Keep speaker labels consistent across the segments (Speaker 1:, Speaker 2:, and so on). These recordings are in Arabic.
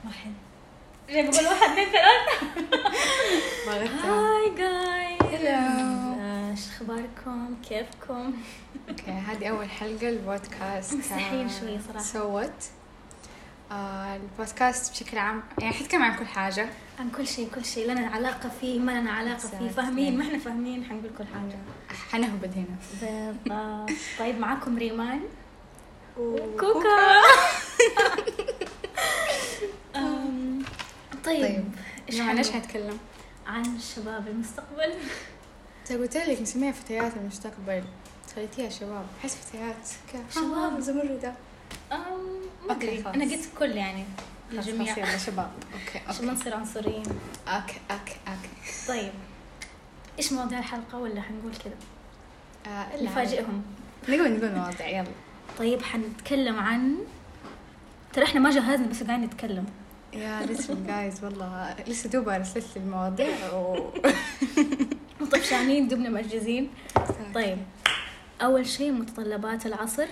Speaker 1: زي ما إيه، بقول واحد اثنين ثلاثة
Speaker 2: ما غثت
Speaker 1: هاي جايز
Speaker 2: Hello.
Speaker 1: شو اخباركم؟ كيفكم؟
Speaker 2: اوكي هذه اول حلقه البودكاست
Speaker 1: مستحيين شوي صراحة.
Speaker 2: سوت آه البودكاست بشكل عام يعني حتكلم عن كل حاجه
Speaker 1: عن كل شيء كل شيء لنا علاقة فيه ما لنا علاقة فيه
Speaker 2: Exactly.
Speaker 1: فاهمين ما احنا فاهمين حنقول كل حاجة
Speaker 2: حنهبل هنا
Speaker 1: بالضبط طيب معاكم ريمان
Speaker 2: كوكا.
Speaker 1: أم،
Speaker 2: طيب نعم.
Speaker 1: طيب
Speaker 2: إيش عن ايش
Speaker 1: حنقول؟
Speaker 2: حنتكلم؟
Speaker 1: عن شباب المستقبل
Speaker 2: انت قلت لك نسميها فتيات المستقبل خليتيها شباب احس فتيات آه، كده
Speaker 1: شباب.
Speaker 2: زمردة
Speaker 1: أم، ما
Speaker 2: أوكي،
Speaker 1: أدري.
Speaker 2: خلاص.
Speaker 1: انا قلت كل يعني
Speaker 2: خلاص
Speaker 1: الجميع
Speaker 2: خلاص يلا شباب اوكي
Speaker 1: عشان ما
Speaker 2: اوكي
Speaker 1: نصير عنصريين
Speaker 2: اوكي اوكي اوكي
Speaker 1: طيب ايش مواضيع الحلقة ولا حنقول كذا
Speaker 2: آه، لا.
Speaker 1: نفاجئهم
Speaker 2: نقول نقول مواضيع يلا
Speaker 1: طيب حنتكلم عن ترى احنا ما جهزنا بس قاعدين نتكلم
Speaker 2: يا لسه جايز والله لسه دوب ارسلت لي المواضيع و
Speaker 1: وطفشانين دوبنا مجهزين طيب اول شيء متطلبات العصر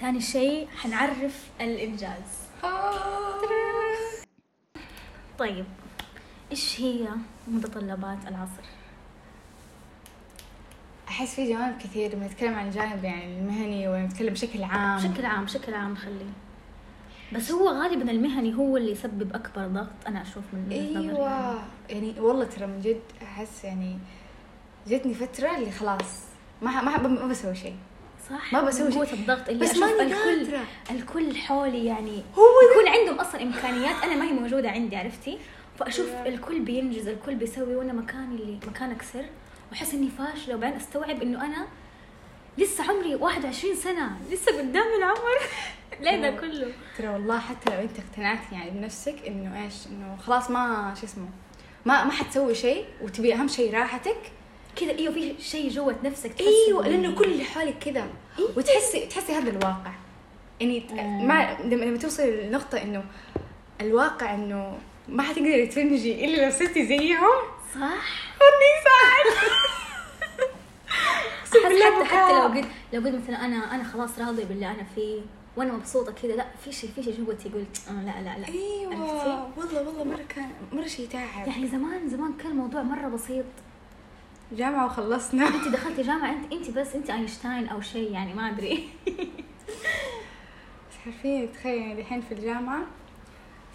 Speaker 1: ثاني شيء حنعرف الانجاز
Speaker 2: آه.
Speaker 1: طيب ايش هي متطلبات العصر
Speaker 2: احس في جوانب كثير بنتكلم عن الجانب يعني المهني ونتكلم بشكل عام
Speaker 1: بشكل عام بشكل عام خليه بس هو غالبا المهني هو اللي يسبب اكبر ضغط انا اشوف من وجهة نظري يعني.
Speaker 2: ايوه يعني والله ترى من جد احس يعني جتني فتره اللي خلاص ما ما ما بسوي شيء
Speaker 1: صح
Speaker 2: ما بسوي
Speaker 1: من
Speaker 2: شيء.
Speaker 1: قوة الضغط اللي
Speaker 2: بس
Speaker 1: أشوف
Speaker 2: ماني
Speaker 1: الكل
Speaker 2: قادرة.
Speaker 1: الكل حولي يعني
Speaker 2: هو
Speaker 1: يكون عندهم اصلا امكانيات انا ما هي موجوده عندي عرفتي فاشوف
Speaker 2: Yeah.
Speaker 1: الكل بينجز الكل بيسوي وانا مكاني اللي مكانك سر واحس اني فاشله وبعدين استوعب انه انا لسه عمري 21 سنه لسه قدام العمر ليه ده
Speaker 2: Yeah.
Speaker 1: كله
Speaker 2: ترى والله حتى لو انت اقتنعت يعني بنفسك انه ايش انه خلاص ما شو اسمه ما ما حتسوي شيء وتبي اهم شيء راحتك
Speaker 1: كذا ايوه في شيء جوة نفسك تحس
Speaker 2: ايوه
Speaker 1: إنه-
Speaker 2: لانه كل اللي حولك كذا
Speaker 1: إيه.
Speaker 2: وتحسي تحسي هذا الواقع يعني
Speaker 1: آه.
Speaker 2: ما لما لما توصل لنقطة انه الواقع انه ما حتقدري تنجي الا لو صرتي زيهم
Speaker 1: صح
Speaker 2: خلني سعد
Speaker 1: أحس حتى حتى لو قلت لو قلت مثلا انا انا خلاص راضيه باللي انا فيه وانا مبسوطه كذا لا في شيء في شيء جوتي يقول آه، لا لا لا عرفتي؟
Speaker 2: ايوه والله والله مرة كان مرة شيء تعب
Speaker 1: يعني زمان زمان كان الموضوع مره بسيط
Speaker 2: جامعة وخلصنا
Speaker 1: انت دخلتي جامعه انت انت بس انت اينشتاين او شيء يعني ما ادري
Speaker 2: بس حرفيا تخيل الحين في الجامعة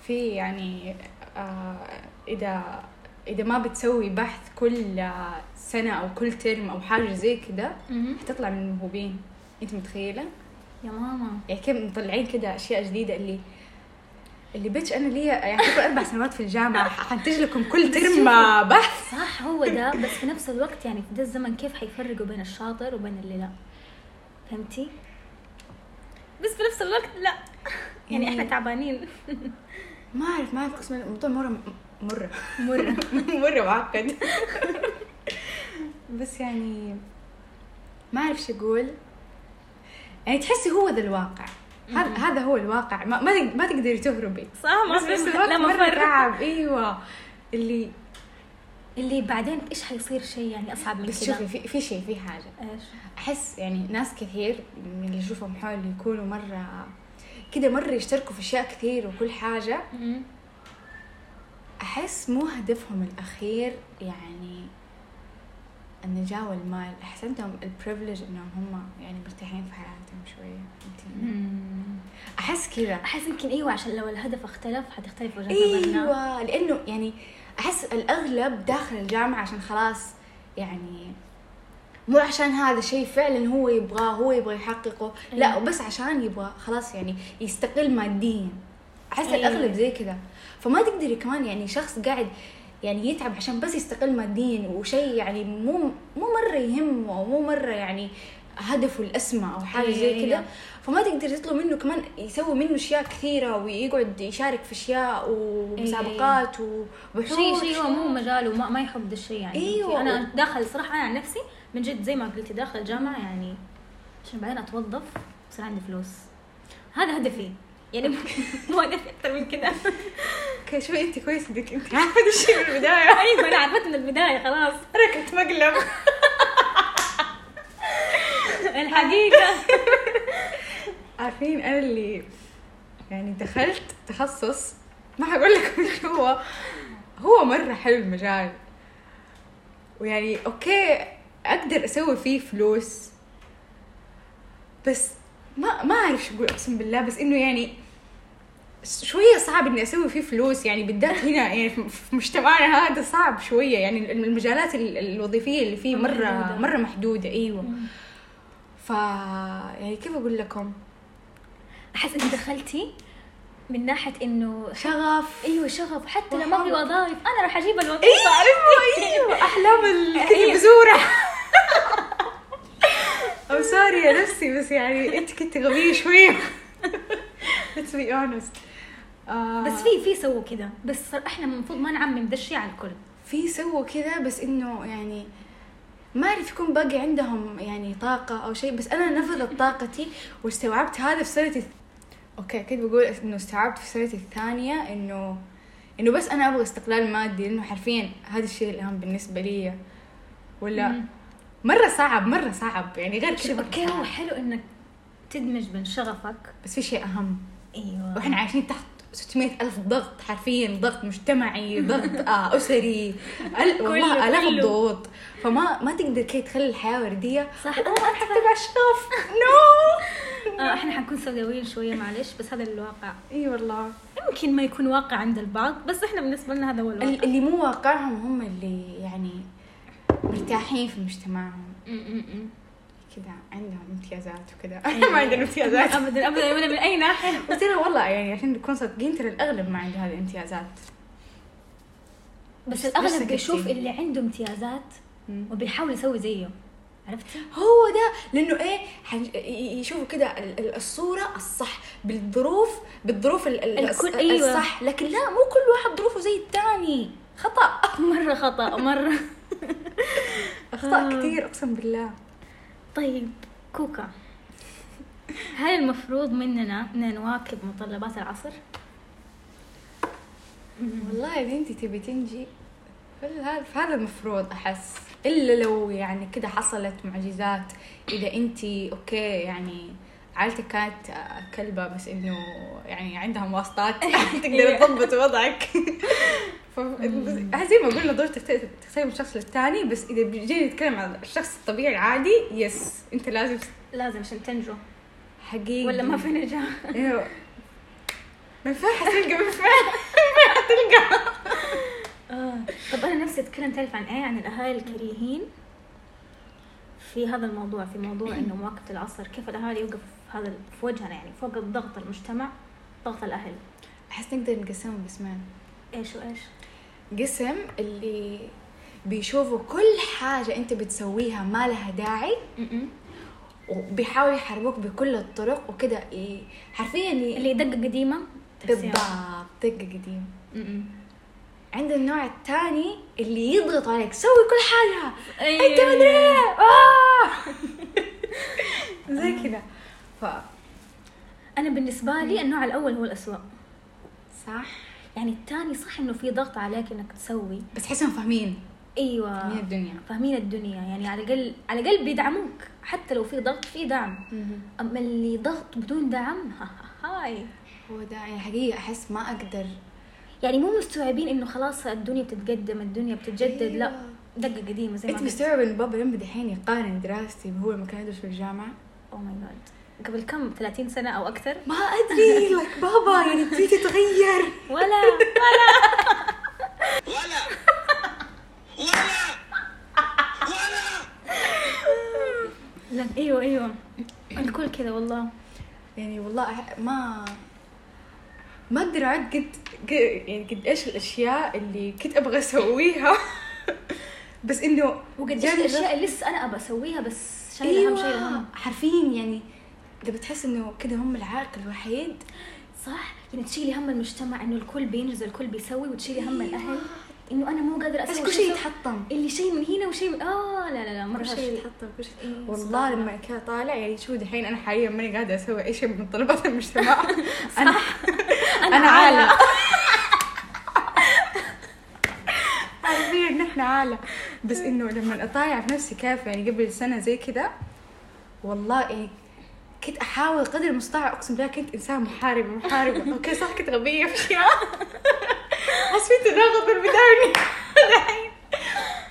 Speaker 2: في يعني آه إذا إذا ما بتسوي بحث كل آه، سنة أو كل ترم أو حاجة زي كده حتطلع من الموهوبين أنت متخيلة؟
Speaker 1: يا ماما
Speaker 2: يعني كيف مطلعين كده أشياء جديدة اللي اللي بيتش أنا لي يعني كل أربع سنوات في الجامعة حنتج لكم كل
Speaker 1: بس
Speaker 2: ترم
Speaker 1: شوفي.
Speaker 2: آه، بحث
Speaker 1: صح هو ده بس في نفس الوقت يعني في ده الزمن كيف حيفرقوا بين الشاطر وبين اللي لا فهمتي؟ بس في نفس الوقت لا يعني احنا تعبانين
Speaker 2: ما أعرف ما أعرف أقسم بالله الموضوع مرة مرة
Speaker 1: مرة
Speaker 2: مرة معقد بس يعني ما أعرف شو أقول يعني تحسي هو ذا الواقع هذا هذا هو الواقع ما ما, تق- ما تقدري تهربي
Speaker 1: صح ما
Speaker 2: بس في نفس
Speaker 1: في
Speaker 2: الوقت
Speaker 1: لا
Speaker 2: مرة
Speaker 1: مفر
Speaker 2: تعب ايوه اللي
Speaker 1: اللي بعدين ايش حيصير شيء يعني اصعب من
Speaker 2: بس
Speaker 1: كذا
Speaker 2: شوفي في, في شيء في حاجة
Speaker 1: ايش؟
Speaker 2: أحس يعني ناس كثير من اللي أشوفهم حولي يكونوا مرة كده مرة يشتركوا في أشياء كثير وكل حاجة
Speaker 1: مم.
Speaker 2: احس مو هدفهم الاخير يعني النجاة والمال احس عندهم البريفليج انهم هم يعني مرتاحين في حياتهم شوية فهمتيني؟ احس كذا
Speaker 1: احس يمكن ايوه عشان لو الهدف اختلف حتختلف وجهه نظرنا
Speaker 2: ايوه لانه يعني احس الاغلب داخل الجامعة عشان خلاص يعني مو عشان هذا شيء فعلا هو يبغاه هو يبغى يحققه لا
Speaker 1: أيوة.
Speaker 2: بس عشان يبغى خلاص يعني يستقل ماديا احس
Speaker 1: أيوة.
Speaker 2: الاغلب زي كذا فما تقدري كمان يعني شخص قاعد يعني يتعب عشان بس يستقل ماديا وشيء يعني مو مو مره يهمه او مو مره يعني هدفه الاسمى او حاجه زي
Speaker 1: أيوة.
Speaker 2: كذا فما تقدر تطلب منه كمان يسوي منه اشياء كثيره ويقعد يشارك في اشياء ومسابقات وبحوث
Speaker 1: شيء شيء إيه. هو مو مجاله وما ما يحب ذا الشيء يعني
Speaker 2: أيوة.
Speaker 1: انا داخل صراحه انا عن نفسي من جد زي ما قلتي داخل الجامعه يعني عشان بعدين اتوظف يصير عندي فلوس هذا هدفي يعني مو هدفي اكثر من كذا
Speaker 2: اوكي شوي انت كويس انك انت عارفه هذا الشيء من البدايه
Speaker 1: ايوه انا عرفت من البدايه خلاص
Speaker 2: انا كنت مقلب
Speaker 1: الحقيقه
Speaker 2: عارفين انا اللي يعني دخلت تخصص ما حقول لكم ايش هو هو مرة حلو المجال ويعني اوكي اقدر اسوي فيه فلوس بس ما ما اعرف شو اقول اقسم بالله بس انه يعني شوية صعب اني اسوي فيه فلوس يعني بالذات هنا يعني في في مجتمعنا هذا صعب شوية يعني المجالات ال- الوظيفية اللي فيه مرة
Speaker 1: محدودة.
Speaker 2: مرة محدودة ايوه
Speaker 1: مم.
Speaker 2: ف يعني كيف اقول لكم
Speaker 1: احس انت دخلتي من ناحيه انه
Speaker 2: شغف
Speaker 1: ايوه شغف حتى لو ما
Speaker 2: وحب.
Speaker 1: في وظائف انا راح اجيب الوظيفه
Speaker 2: ايوه
Speaker 1: طيب.
Speaker 2: ايوه احلام
Speaker 1: إيه.
Speaker 2: الكنت بزوره او سوري يا نفسي بس يعني انت كنت غبيه شويه let's be honest آه،
Speaker 1: بس في في سووا كذا بس صار- احنا المفروض ما نعمم ذا الشيء على الكل
Speaker 2: في سووا كذا بس انه يعني ما اعرف يكون باقي عندهم يعني طاقة أو شيء بس أنا نفذت طاقتي واستوعبت هذا في سنة الث... أوكي كنت بقول إنه استوعبت في سنة الثانية إنه إنه بس أنا أبغى استقلال مادي لأنه حرفيا هذا الشيء الأهم بالنسبة لي ولا
Speaker 1: مم.
Speaker 2: مرة صعب مرة صعب يعني غير كذا
Speaker 1: شوف،
Speaker 2: مرة
Speaker 1: اوكي هو
Speaker 2: صعب.
Speaker 1: حلو انك تدمج بين شغفك
Speaker 2: بس في شيء أهم
Speaker 1: ايوه
Speaker 2: واحنا عايشين تحت 600 ألف ضغط حرفيا ضغط مجتمعي ضغط آه أسري أل... والله
Speaker 1: كله-
Speaker 2: آلاف
Speaker 1: كله.
Speaker 2: الضغوط فما ما تقدر كي تخلي الحياة وردية
Speaker 1: صح
Speaker 2: أنا
Speaker 1: انا
Speaker 2: ما
Speaker 1: أحس-
Speaker 2: أحب تبع الشغف نو
Speaker 1: آه، احنا حنكون سوداويين شويه معلش بس هذا الواقع
Speaker 2: اي والله
Speaker 1: يمكن ما يكون واقع عند البعض بس احنا بالنسبه لنا هذا هو الواقع
Speaker 2: ال- اللي مو واقعهم هم اللي يعني مرتاحين في مجتمعهم
Speaker 1: م-م-م.
Speaker 2: كذا عندهم امتيازات وكذا
Speaker 1: إيه.
Speaker 2: احنا ما عندنا امتيازات
Speaker 1: ابدا ابدا ولا من اي ناحيه
Speaker 2: وترى والله يعني عشان نكون صادقين ترى الاغلب ما عنده هذه الامتيازات
Speaker 1: بس
Speaker 2: نفس
Speaker 1: الاغلب
Speaker 2: القتيل.
Speaker 1: بيشوف اللي عنده امتيازات
Speaker 2: مم.
Speaker 1: وبيحاول يسوي زيه عرفتي؟
Speaker 2: هو ده لانه ايه حن- ي- يشوفوا كده ال- ال- الصوره الصح بالظروف بالظروف ال- ال-
Speaker 1: الكل-
Speaker 2: الص-
Speaker 1: أيوة.
Speaker 2: الصح لكن لا مو كل واحد ظروفه زي الثاني خطا
Speaker 1: مره خطا مره
Speaker 2: اخطاء
Speaker 1: آه.
Speaker 2: كثير اقسم بالله
Speaker 1: طيب كوكا هل المفروض مننا ان نواكب متطلبات العصر؟
Speaker 2: والله يا بنتي تبي تنجي هذا هذا المفروض احس الا لو يعني كده حصلت معجزات اذا انت اوكي يعني عائلتك كانت آه، كلبه بس انه يعني عندها مواصلات يعني تقدر تضبط وضعك ف- بس- زي ما قلنا دور تختلف تختلف من شخص للتاني بس اذا بيجي نتكلم عن الشخص الطبيعي العادي يس انت لازم
Speaker 1: لازم عشان تنجو
Speaker 2: حقيقي
Speaker 1: ولا ما في نجاح
Speaker 2: إيوه. ما ينفعش تلقى ما ينفعش
Speaker 1: آه. طب انا نفسي اتكلم تعرف عن ايه عن الاهالي الكريهين في هذا الموضوع في موضوع انه مواكبه العصر كيف الاهالي يوقفوا في هذا في وجهنا يعني فوق الضغط المجتمع ضغط الاهل
Speaker 2: احس نقدر نقسمهم قسمين
Speaker 1: ايش وايش
Speaker 2: قسم اللي بيشوفوا كل حاجة أنت بتسويها ما لها داعي
Speaker 1: م-م.
Speaker 2: وبيحاولوا يحاربوك بكل الطرق وكده ي- حرفيا ي-
Speaker 1: اللي دقه قديمه ترسيها.
Speaker 2: بالضبط دقة قديم
Speaker 1: م-م.
Speaker 2: عند النوع الثاني اللي يضغط عليك سوي كل حاجة
Speaker 1: أي-
Speaker 2: أنت مدري إيه آه! زي كده ف
Speaker 1: انا بالنسبه لي النوع الاول هو الاسوأ
Speaker 2: صح
Speaker 1: يعني الثاني صح انه في ضغط عليك انك تسوي
Speaker 2: بس حسهم فاهمين من
Speaker 1: ايوه
Speaker 2: الدنيا
Speaker 1: فاهمين الدنيا يعني على الاقل على الاقل بيدعموك حتى لو في ضغط في دعم اما اللي ضغط بدون دعم ها ها هاي
Speaker 2: هو ده يعني حقيقة أحس ما أقدر
Speaker 1: يعني مو مستوعبين انه خلاص الدنيا بتتقدم الدنيا بتتجدد لا
Speaker 2: أيوة.
Speaker 1: دقه قديمه زي ما
Speaker 2: أنت مستوعب إن بابا لما دحين يقارن دراستي بهو لما كان يدرس في الجامعة
Speaker 1: او ماي جاد Oh قبل كم 30 سنه او اكثر
Speaker 2: ما ادري لك بابا يعني تبي تتغير
Speaker 1: ولا ولا
Speaker 3: ولا ولا ولا
Speaker 1: لا ايوه ايوه الكل كذا والله
Speaker 2: يعني والله ما ما اقدر اعد قد قد- يعني قد ايش الاشياء اللي كنت ابغى اسويها بس انه
Speaker 1: وقد ايش
Speaker 2: جاني
Speaker 1: الاشياء اللي لسه انا ابى اسويها بس
Speaker 2: ضغط-
Speaker 1: شايله هم شايله هم
Speaker 2: حرفيا يعني ده أيوة. بتحس انه كده هم العائق الوحيد
Speaker 1: صح يعني تشيلي هم المجتمع انه الكل بينجز الكل بيسوي وتشيلي هم الاهل انه انا مو قادره اسوي
Speaker 2: أيوة. بس كل شيء
Speaker 1: أسوي.
Speaker 2: يتحطم
Speaker 1: اللي شيء من هنا وشيء من اه لا لا لا مره
Speaker 2: كل شيء
Speaker 1: شيء
Speaker 2: يتحطم كل شيء
Speaker 1: إيه،
Speaker 2: والله
Speaker 1: صح.
Speaker 2: لما كان طالع يعني شو دحين انا حاليا ماني قاعده اسوي اي شيء من طلبات المجتمع انا انا عالة حرفيا نحن عالة بس انه لما اطالع في نفسي كيف يعني قبل سنة زي كذا والله إيه كنت احاول قدر المستطاع اقسم بالله كنت انسان محاربة محاربة اوكي صح كنت غبية في اشياء تناغم البداية دحين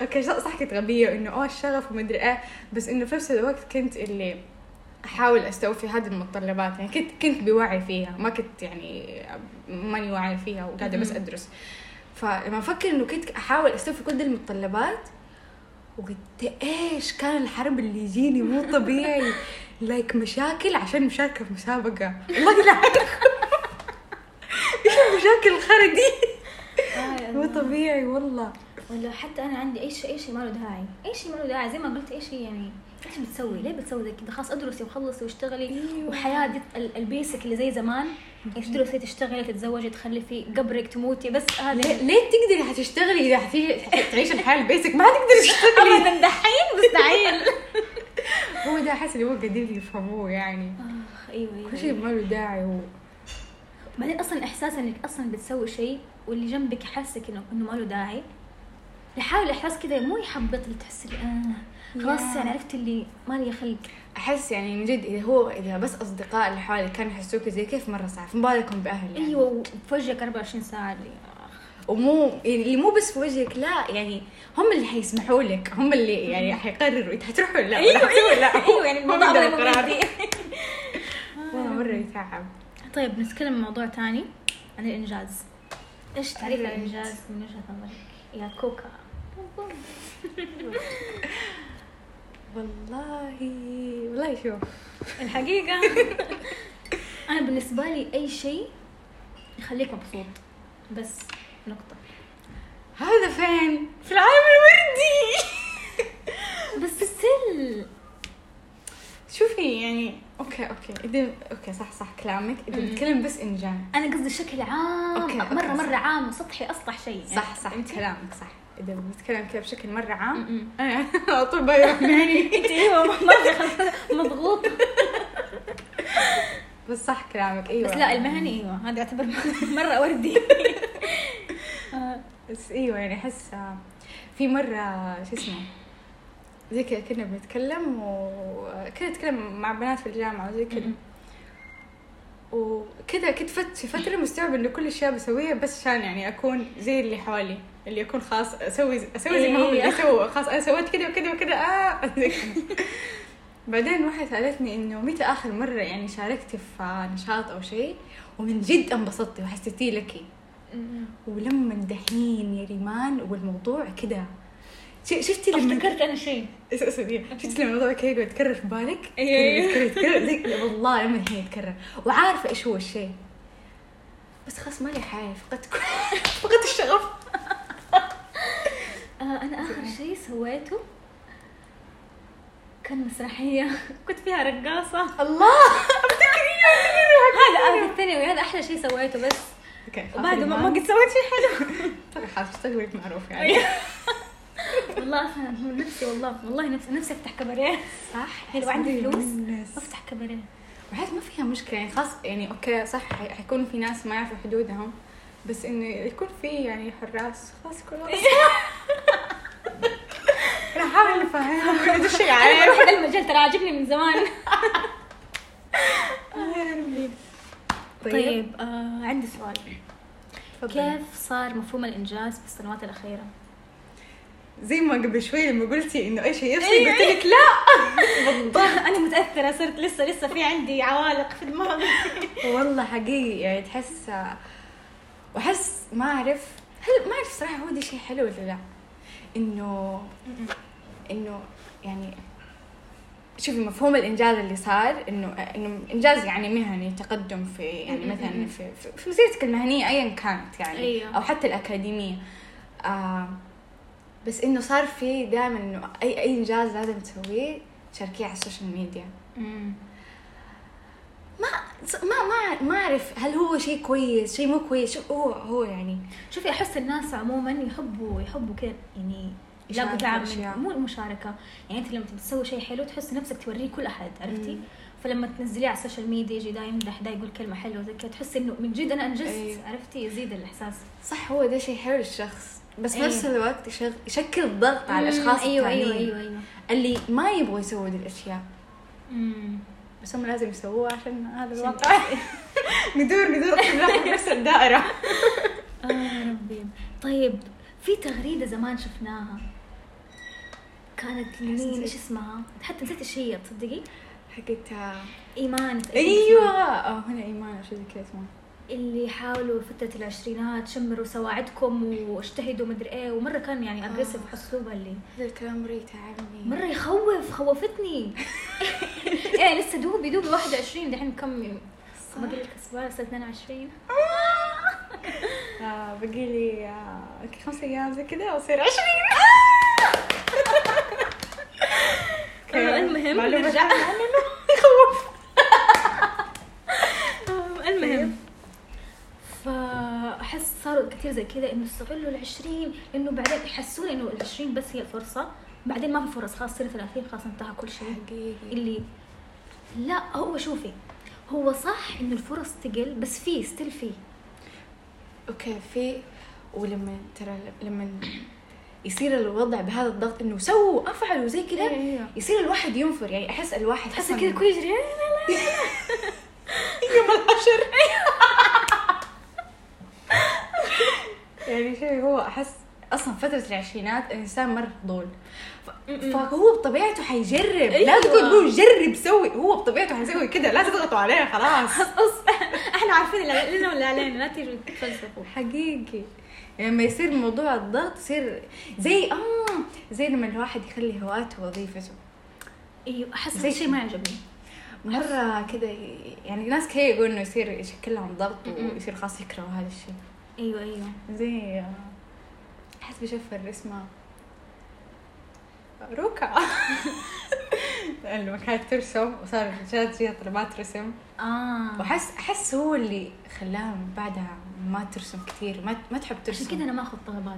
Speaker 2: اوكي صح صح كنت غبية انه اوه الشغف ومدري ايه بس انه في نفس الوقت كنت اللي احاول استوفي هذه المتطلبات يعني كنت كنت بوعي فيها ما كنت يعني ماني واعية فيها وقاعدة بس
Speaker 1: مم.
Speaker 2: ادرس فلما افكر انه كنت احاول استوفي كل دي المتطلبات وقلت ايش كان الحرب اللي يجيني مو طبيعي لايك مشاكل عشان مشاركه في مسابقه الله يلعنكم ايش المشاكل الخرا دي
Speaker 1: آه،
Speaker 2: مو طبيعي والله
Speaker 1: ولا حتى انا عندي اي شيء اي شيء ما له داعي اي شيء ما له داعي زي ما قلت اي شيء يعني ايش بتسوي ليه بتسوي زي كذا خلاص ادرسي وخلصي واشتغلي
Speaker 2: أيوة.
Speaker 1: وحياه دي ال- البيسك اللي زي زمان ايش تدرسي تشتغلي تتزوجي تخلفي قبرك تموتي بس هذه
Speaker 2: ليه, ليه تقدري حتشتغلي اذا حتيجي تعيش الحياه البيسك ما حتقدري تشتغلي
Speaker 1: ابدا دحين مستحيل
Speaker 2: هو ده احس اللي هو قادر يفهموه يعني
Speaker 1: اخ ايوه ايوه,
Speaker 2: كل شيء
Speaker 1: أيوة.
Speaker 2: ما له داعي هو
Speaker 1: بعدين اصلا احساس انك اصلا بتسوي شيء واللي جنبك حاسك انه انه ما له داعي يحاول احساس كذا مو يحبط اللي تحس اللي آه خلاص
Speaker 2: Yeah.
Speaker 1: يعني عرفت اللي ما لي خلق
Speaker 2: احس يعني من جد اذا هو اذا بس اصدقاء اللي حوالي كانوا يحسوك زي كيف مره صعب فما بالكم باهل يعني.
Speaker 1: ايوه وفي وجهك 24 ساعه اللي آخ.
Speaker 2: ومو يعني اللي مو بس في وجهك لا يعني هم اللي حيسمحوا لك هم اللي يعني حيقرروا انت حتروح ولا لا ولا حتروح ولا لا
Speaker 1: ايوه يعني
Speaker 2: هم
Speaker 1: الموضوع
Speaker 2: بيقدروا
Speaker 1: غير
Speaker 2: القرار.
Speaker 1: مجدي.
Speaker 2: والله مره يتعب
Speaker 1: طيب نتكلم عن موضوع ثاني عن الانجاز ايش تعريف
Speaker 2: أيوة.
Speaker 1: الانجاز من وجهه نظرك يا كوكا
Speaker 2: والله والله شوف
Speaker 1: الحقيقه انا بالنسبه لي اي شيء يخليك مبسوط بس نقطه
Speaker 2: هذا فين؟ في العالم الوردي
Speaker 1: بس ستيل
Speaker 2: شوفي يعني اوكي اوكي اذا اوكي صح صح كلامك اذا
Speaker 1: مم.
Speaker 2: بنتكلم بس انجاز
Speaker 1: انا قصدي بشكل عام
Speaker 2: أوكي، أوكي،
Speaker 1: مره
Speaker 2: صح.
Speaker 1: مره عام وسطحي اسطح شيء يعني.
Speaker 2: صح صح كلامك صح اذا يعني بنتكلم كذا بشكل مره عام
Speaker 1: م-م.
Speaker 2: انا ايه، على طول بروح يعني
Speaker 1: انت ايوه مره مضغوطه
Speaker 2: بس صح كلامك ايوه
Speaker 1: بس لا المهني ايوه هذا يعتبر آه، مره وردي
Speaker 2: بس ايوه يعني احس في مره شو اسمه زي كذا كنا بنتكلم وكنا نتكلم مع بنات في الجامعه وزي كذا
Speaker 1: م-م.
Speaker 2: وكذا كنت فت في فتره مستوعبه انه كل الاشياء بسويها بس عشان يعني اكون زي اللي حوالي اللي يكون خاص اسوي اسوي زي ما هم
Speaker 1: إيه.
Speaker 2: اللي سووا خاص انا سويت كذا وكذا وكذا اه زي كذا. بعدين واحده سالتني انه متى اخر مره يعني شاركتي في نشاط او شيء ومن جد انبسطتي وحسيتي لكي
Speaker 1: إيه،
Speaker 2: ولما دحين يا ريمان والموضوع كده ش- شفتي لما
Speaker 1: افتكرت انا شيء
Speaker 2: اس- اسفني شفتي لما الموضوع كده يقعد يتكرر في بالك
Speaker 1: أيوة، أيوة.
Speaker 2: يتكرر يتكرر زي والله لما دحين يتكرر وعارفه ايش هو الشيء بس خلاص مالي حاجه فقدت كل- فقدت الشغف
Speaker 1: آه، انا اخر شيء سويته كان مسرحيه كنت فيها رقاصه
Speaker 2: الله افتكر
Speaker 1: هذا انا في الثانوي هذا احلى شيء سويته بس
Speaker 2: اوكي
Speaker 1: وبعد ما ما قد سويت شيء حلو
Speaker 2: طبعا خلاص اشتغلت معروف يعني
Speaker 1: والله أصلاً من نفسي والله والله نفسي نفسي افتح كباريه
Speaker 2: صح
Speaker 1: حلو، عندي فلوس.
Speaker 2: فلوس
Speaker 1: افتح كباريه
Speaker 2: وحيت ما فيها مشكله يعني خاص يعني اوكي صح حي- حيكون في ناس ما يعرفوا حدودهم بس انه يكون في يعني حراس خلاص يكون انا حاول افهمهم هذا الشيء
Speaker 1: انا
Speaker 2: عيب
Speaker 1: اروح هذا المجال ترى عاجبني من زمان
Speaker 2: طيب
Speaker 1: طيب آه عندي سؤال
Speaker 2: تفضلي.
Speaker 1: كيف صار مفهوم الانجاز في السنوات الاخيره
Speaker 2: زي ما قبل شوي لما قلتي انه اي شيء يفصل
Speaker 1: أيوة،
Speaker 2: قلت لك لا
Speaker 1: انا متاثره صرت لسه لسه في عندي عوالق في دماغي
Speaker 2: والله حقيقي يعني تحس واحس ما اعرف هل ما اعرف صراحه هو دي شيء حلو ولا لا انه انه يعني شوفي مفهوم الانجاز اللي صار انه انه انجاز يعني مهني تقدم في يعني
Speaker 1: م- م-
Speaker 2: مثلا
Speaker 1: م.
Speaker 2: في, في- في مسيرتك المهنيه ايا كانت يعني
Speaker 1: أيوه.
Speaker 2: او حتى الاكاديميه آه بس انه صار في دائما انه اي اي انجاز لازم تسويه تشاركيه على السوشيال ميديا ما ما ما ما اعرف هل هو شيء كويس شيء مو كويس شو هو هو يعني
Speaker 1: شوفي احس الناس عموما يحبوا يحبوا كذا يعني يلاقوا
Speaker 2: يشاركوا
Speaker 1: دعم من
Speaker 2: أشياء.
Speaker 1: مو المشاركه يعني انت لما تبي تسوي شيء حلو تحس نفسك توريه كل احد عرفتي
Speaker 2: مم.
Speaker 1: فلما تنزليه على السوشيال ميديا يجي دا يمدح دا يقول كلمه حلوه زي كذا تحس انه من جد انا انجزت
Speaker 2: أيوه.
Speaker 1: عرفتي يزيد الاحساس
Speaker 2: صح هو ده شيء حلو للشخص بس في
Speaker 1: أيوه.
Speaker 2: نفس الوقت يشغ- يشكل ضغط على الاشخاص
Speaker 1: ايوه ايوه
Speaker 2: التانيين
Speaker 1: ايوه ايوه
Speaker 2: اللي ما يبغوا يسووا دي الاشياء
Speaker 1: مم.
Speaker 2: بس هم لازم يسووها عشان هذا ندور ندور نروح نفس الدائره
Speaker 1: آه يا ربي طيب في تغريدة زمان شفناها كانت لمين ايش اسمها؟ حتى نسيت ايش هي تصدقي؟
Speaker 2: حقت آه،
Speaker 1: ايمان تقريباً
Speaker 2: ايوه
Speaker 1: اسمها.
Speaker 2: آه، هنا ايمان او شيء زي كذا اسمها
Speaker 1: اللي حاولوا فترة العشرينات شمروا سواعدكم واجتهدوا مدري ايه ومرة كان يعني اجريسف في اسلوبها اللي
Speaker 2: هذا الكلام ريت عمي
Speaker 1: مرة يخوف خوفتني ايه لسه دوبي دوبي 21 دحين كم يوم؟ ما قلت لك اسبوع لسه 22
Speaker 2: آه، بقي لي آه، يمكن خمس ايام زي كذا واصير 20
Speaker 1: آه، المهم
Speaker 2: معلومة
Speaker 1: نرجع.
Speaker 2: عامة إنه يخوف
Speaker 1: المهم فاحس طيب. صاروا كثير زي كذا انه استغلوا ال 20 انه بعدين يحسون انه ال 20 بس هي الفرصه بعدين ما في فرص خلاص صير 30 خلاص انتهى كل شيء
Speaker 2: حقيقي
Speaker 1: اللي لا هو شوفي هو صح انه الفرص تقل بس في ستيل في
Speaker 2: اوكي في ولما ترى لما يصير الوضع بهذا الضغط انه سووا افعلوا زي كذا
Speaker 1: إيه، إيه.
Speaker 2: يصير الواحد ينفر يعني احس الواحد
Speaker 1: تحس
Speaker 2: أصلاً-
Speaker 1: كذا كل يجري
Speaker 2: يوم العشر يعني شيء هو احس اصلا فتره العشرينات الانسان مره ضول ف-
Speaker 1: م-م.
Speaker 2: فهو بطبيعته حيجرب
Speaker 1: أيوة.
Speaker 2: لا تقول له جرب سوي هو بطبيعته حيسوي كذا لا تضغطوا عليه خلاص
Speaker 1: اص احنا عارفين اللي لنا ولا علينا لا تيجوا تفلسفوا
Speaker 2: حقيقي يعني لما يصير موضوع الضغط يصير زي اه زي لما الواحد يخلي هواته وظيفته
Speaker 1: ايوه احس
Speaker 2: زي
Speaker 1: هذا الشيء ما يعجبني
Speaker 2: مره كذا ي- يعني ناس كثير يقولوا انه يصير يشكل لهم ضغط
Speaker 1: م-م.
Speaker 2: ويصير خلاص يكرهوا هذا الشيء
Speaker 1: ايوه ايوه
Speaker 2: زي آه، احس بشوف الرسمة روكا لما كانت ترسم وصار الرجال فيها طلبات رسم
Speaker 1: اه
Speaker 2: واحس احس هو اللي خلاها من بعدها ما ترسم كثير ما ما تحب
Speaker 1: عشان كذا
Speaker 2: ترسم
Speaker 1: انا ما اخذ طلبات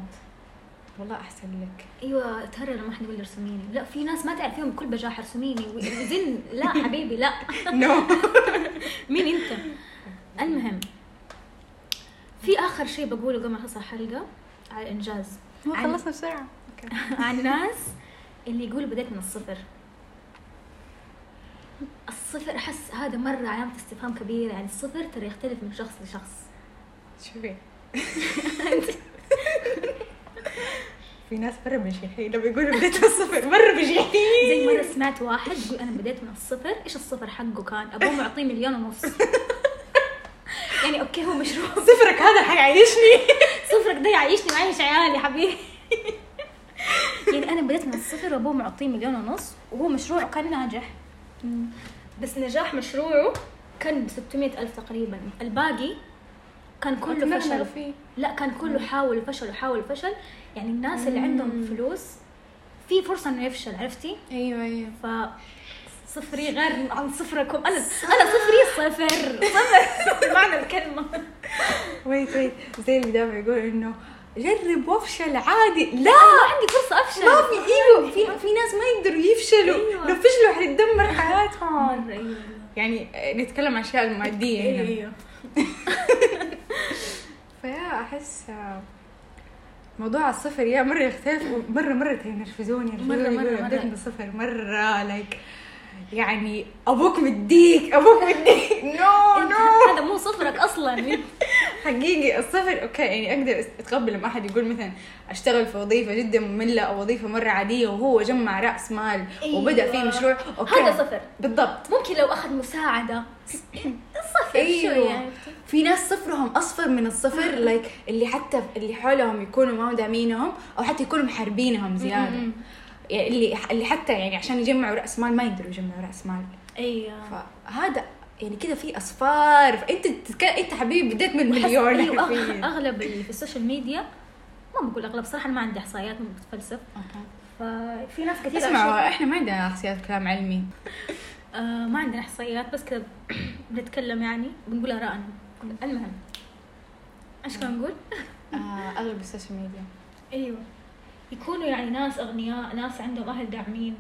Speaker 2: والله احسن لك
Speaker 1: ايوه تهرر ما حد يقول لي ارسميني لا في ناس ما تعرف يوم بكل بجاح ارسميني وزن لا حبيبي لا
Speaker 2: نو
Speaker 1: مين انت المهم في اخر شيء بقوله قبل ما اخلص الحلقه على الانجاز خلصنا
Speaker 2: بسرعة
Speaker 1: عن الناس اللي يقولوا بديت من الصفر الصفر احس هذا مره علامه استفهام كبيره يعني الصفر ترى يختلف من شخص لشخص
Speaker 2: شوفي في ناس مرة مجيحين لما يقولوا بديت من الصفر مرة مجيحين
Speaker 1: زي مره سمعت واحد يقول انا بديت من الصفر ايش الصفر حقه كان ابوه معطيه مليون ونص يعني اوكي هو مشروع
Speaker 2: صفرك هذا حيعيشني
Speaker 1: صفرك ده يعيشني ويعيش عيالي حبيبي يعني انا بديت من الصفر وابوه معطيه مليون ونص وهو مشروعه كان ناجح بس نجاح مشروعه كان ب 600 ألف تقريبا الباقي كان كله فشل
Speaker 2: فيه
Speaker 1: لا كان كله حاول وفشل وحاول وفشل يعني الناس اللي عندهم فلوس في فرصة انه يفشل عرفتي؟
Speaker 2: ايوه ايوه
Speaker 1: ف صفري غير عن صفركم انا انا صفري صفر صفر معنى الكلمة
Speaker 2: ويت ويت زي اللي دائما يقول انه جرب وافشل عادي
Speaker 1: لا
Speaker 2: لا
Speaker 1: عندي فرصة افشل
Speaker 2: ما في ايوه في في ناس ما يقدروا يفشلوا
Speaker 1: أيوة.
Speaker 2: لو فشلوا حتدمر حياتهم
Speaker 1: مرة ايوه
Speaker 2: يعني نتكلم عن الاشياء الماديه هنا
Speaker 1: ايوه
Speaker 2: فيا احس آه، موضوع الصفر يا مره يختلف ومره مره ينرفزوني
Speaker 1: مرة-
Speaker 2: ينرفزوني
Speaker 1: مرة-
Speaker 2: يقولوا
Speaker 1: مرة.
Speaker 2: بديت من الصفر مره لايك يعني ابوك مديك ابوك مديك نو
Speaker 1: انت
Speaker 2: نو
Speaker 1: هذا مو صفرك اصلا
Speaker 2: حقيقي الصفر اوكي يعني اقدر أس- اتقبل لما احد يقول مثلا اشتغل في وظيفه جدا ممله او وظيفه مره عاديه وهو جمع راس مال وبدا فيه
Speaker 1: أيوة.
Speaker 2: مشروع اوكي
Speaker 1: هذا صفر.
Speaker 2: بالضبط
Speaker 1: ممكن لو اخذ مساعده صفر شوي
Speaker 2: ايوه
Speaker 1: يعني
Speaker 2: في ناس صفرهم اصفر من الصفر لايك اللي حتى اللي حولهم يكونوا ما داعمينهم او حتى يكونوا محاربينهم زياده
Speaker 1: م-م.
Speaker 2: يعني اللي اللي حتى يعني عشان يجمعوا راس مال ما يقدروا يجمعوا راس مال
Speaker 1: ايوه
Speaker 2: آه. فهذا يعني كذا في اصفار فانت تتك... انت حبيبي بديت من
Speaker 1: وأحس-
Speaker 2: مليون
Speaker 1: أيوة، أغ-
Speaker 2: حرفياً.
Speaker 1: اغلب اللي في السوشيال ميديا ما بقول اغلب صراحه أنا ما عندي احصائيات ما بتفلسف
Speaker 2: أوكي.
Speaker 1: ففي ناس كثير
Speaker 2: اسمعوا
Speaker 1: أشوف-
Speaker 2: احنا ما عندنا شخصيات كلام علمي
Speaker 1: آه ما عندنا احصائيات بس كذا بنتكلم يعني بنقول ارائنا المهم ايش كنا نقول؟
Speaker 2: اغلب آه، السوشيال ميديا أيوة.
Speaker 1: ايوه يكونوا يعني ناس اغنياء ناس عندهم اهل داعمين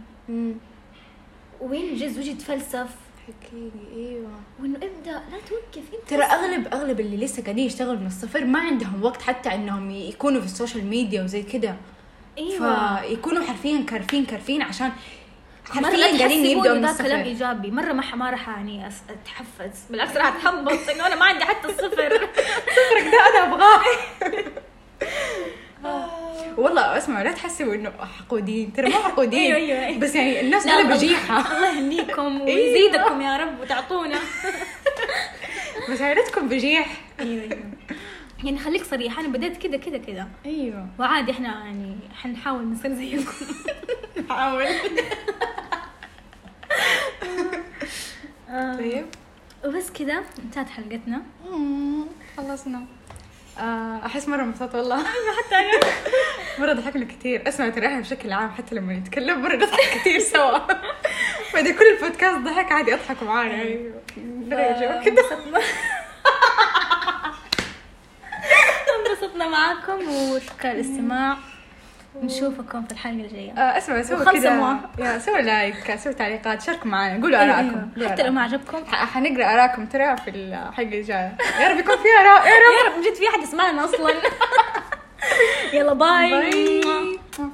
Speaker 1: وينجز ويجي يتفلسف
Speaker 2: حقيقي ايوه
Speaker 1: وانه ابدا لا توقف انت
Speaker 2: ترى اغلب اغلب اللي لسه قاعدين يشتغلوا من الصفر ما عندهم وقت حتى انهم يكونوا في السوشيال ميديا وزي كده
Speaker 1: ايوه
Speaker 2: فيكونوا حرفيا كرفين كرفين عشان
Speaker 1: مرة
Speaker 2: حرفيا قاعدين
Speaker 1: تحسبوني
Speaker 2: يبدأوا من
Speaker 1: ذا كلام
Speaker 2: الصفر
Speaker 1: ايجابي مره ما ح- ما راح يعني أس- اتحفز بالعكس راح اتحبط انه انا ما عندي حتى الصفر
Speaker 2: صفرك ده انا ابغاه
Speaker 1: آه.
Speaker 2: والله اسمعوا لا تحسبوا انه حقودين ترى مو حقودين
Speaker 1: أيوة، أيوة، أيوة.
Speaker 2: بس يعني الناس
Speaker 1: لا،
Speaker 2: انا
Speaker 1: الله-
Speaker 2: بجيحه
Speaker 1: الله يهنيكم
Speaker 2: إيوه.
Speaker 1: ويزيدكم يا رب وتعطونا
Speaker 2: بس عيلتكم بجيح
Speaker 1: ايوه يعني خليك صريحه انا بديت كذا كذا كذا
Speaker 2: ايوه
Speaker 1: وعادي احنا يعني حنحاول نصير زيكم
Speaker 2: حاول
Speaker 1: آه،
Speaker 2: طيب
Speaker 1: وبس كذا انتهت حلقتنا
Speaker 2: مم، خلصنا آه، احس مره مبسوطه والله
Speaker 1: حتى انا
Speaker 2: مره ضحكنا كثير اسمع ترى احنا بشكل عام حتى لما نتكلم مره نضحك كثير سوا بعد كل البودكاست ضحك عادي اضحك معانا يعني
Speaker 1: أيوه.
Speaker 2: نرجع كده
Speaker 1: انبسطنا انبسطنا معاكم وشكرا للاستماع نشوفكم في الحلقه الجايه
Speaker 2: آه، اسمع سووا
Speaker 1: وخلصموا.
Speaker 2: كده يا سووا لايك سووا تعليقات شاركوا معنا قولوا
Speaker 1: أيوة،
Speaker 2: ارائكم
Speaker 1: أيوة. حتى لو ما عجبكم
Speaker 2: ح- حنقرا ارائكم ترى في الحلقه الجايه يا رب يكون في اراء يا رب
Speaker 1: يا رب جد في احد يسمعنا اصلا يلا باي
Speaker 2: باي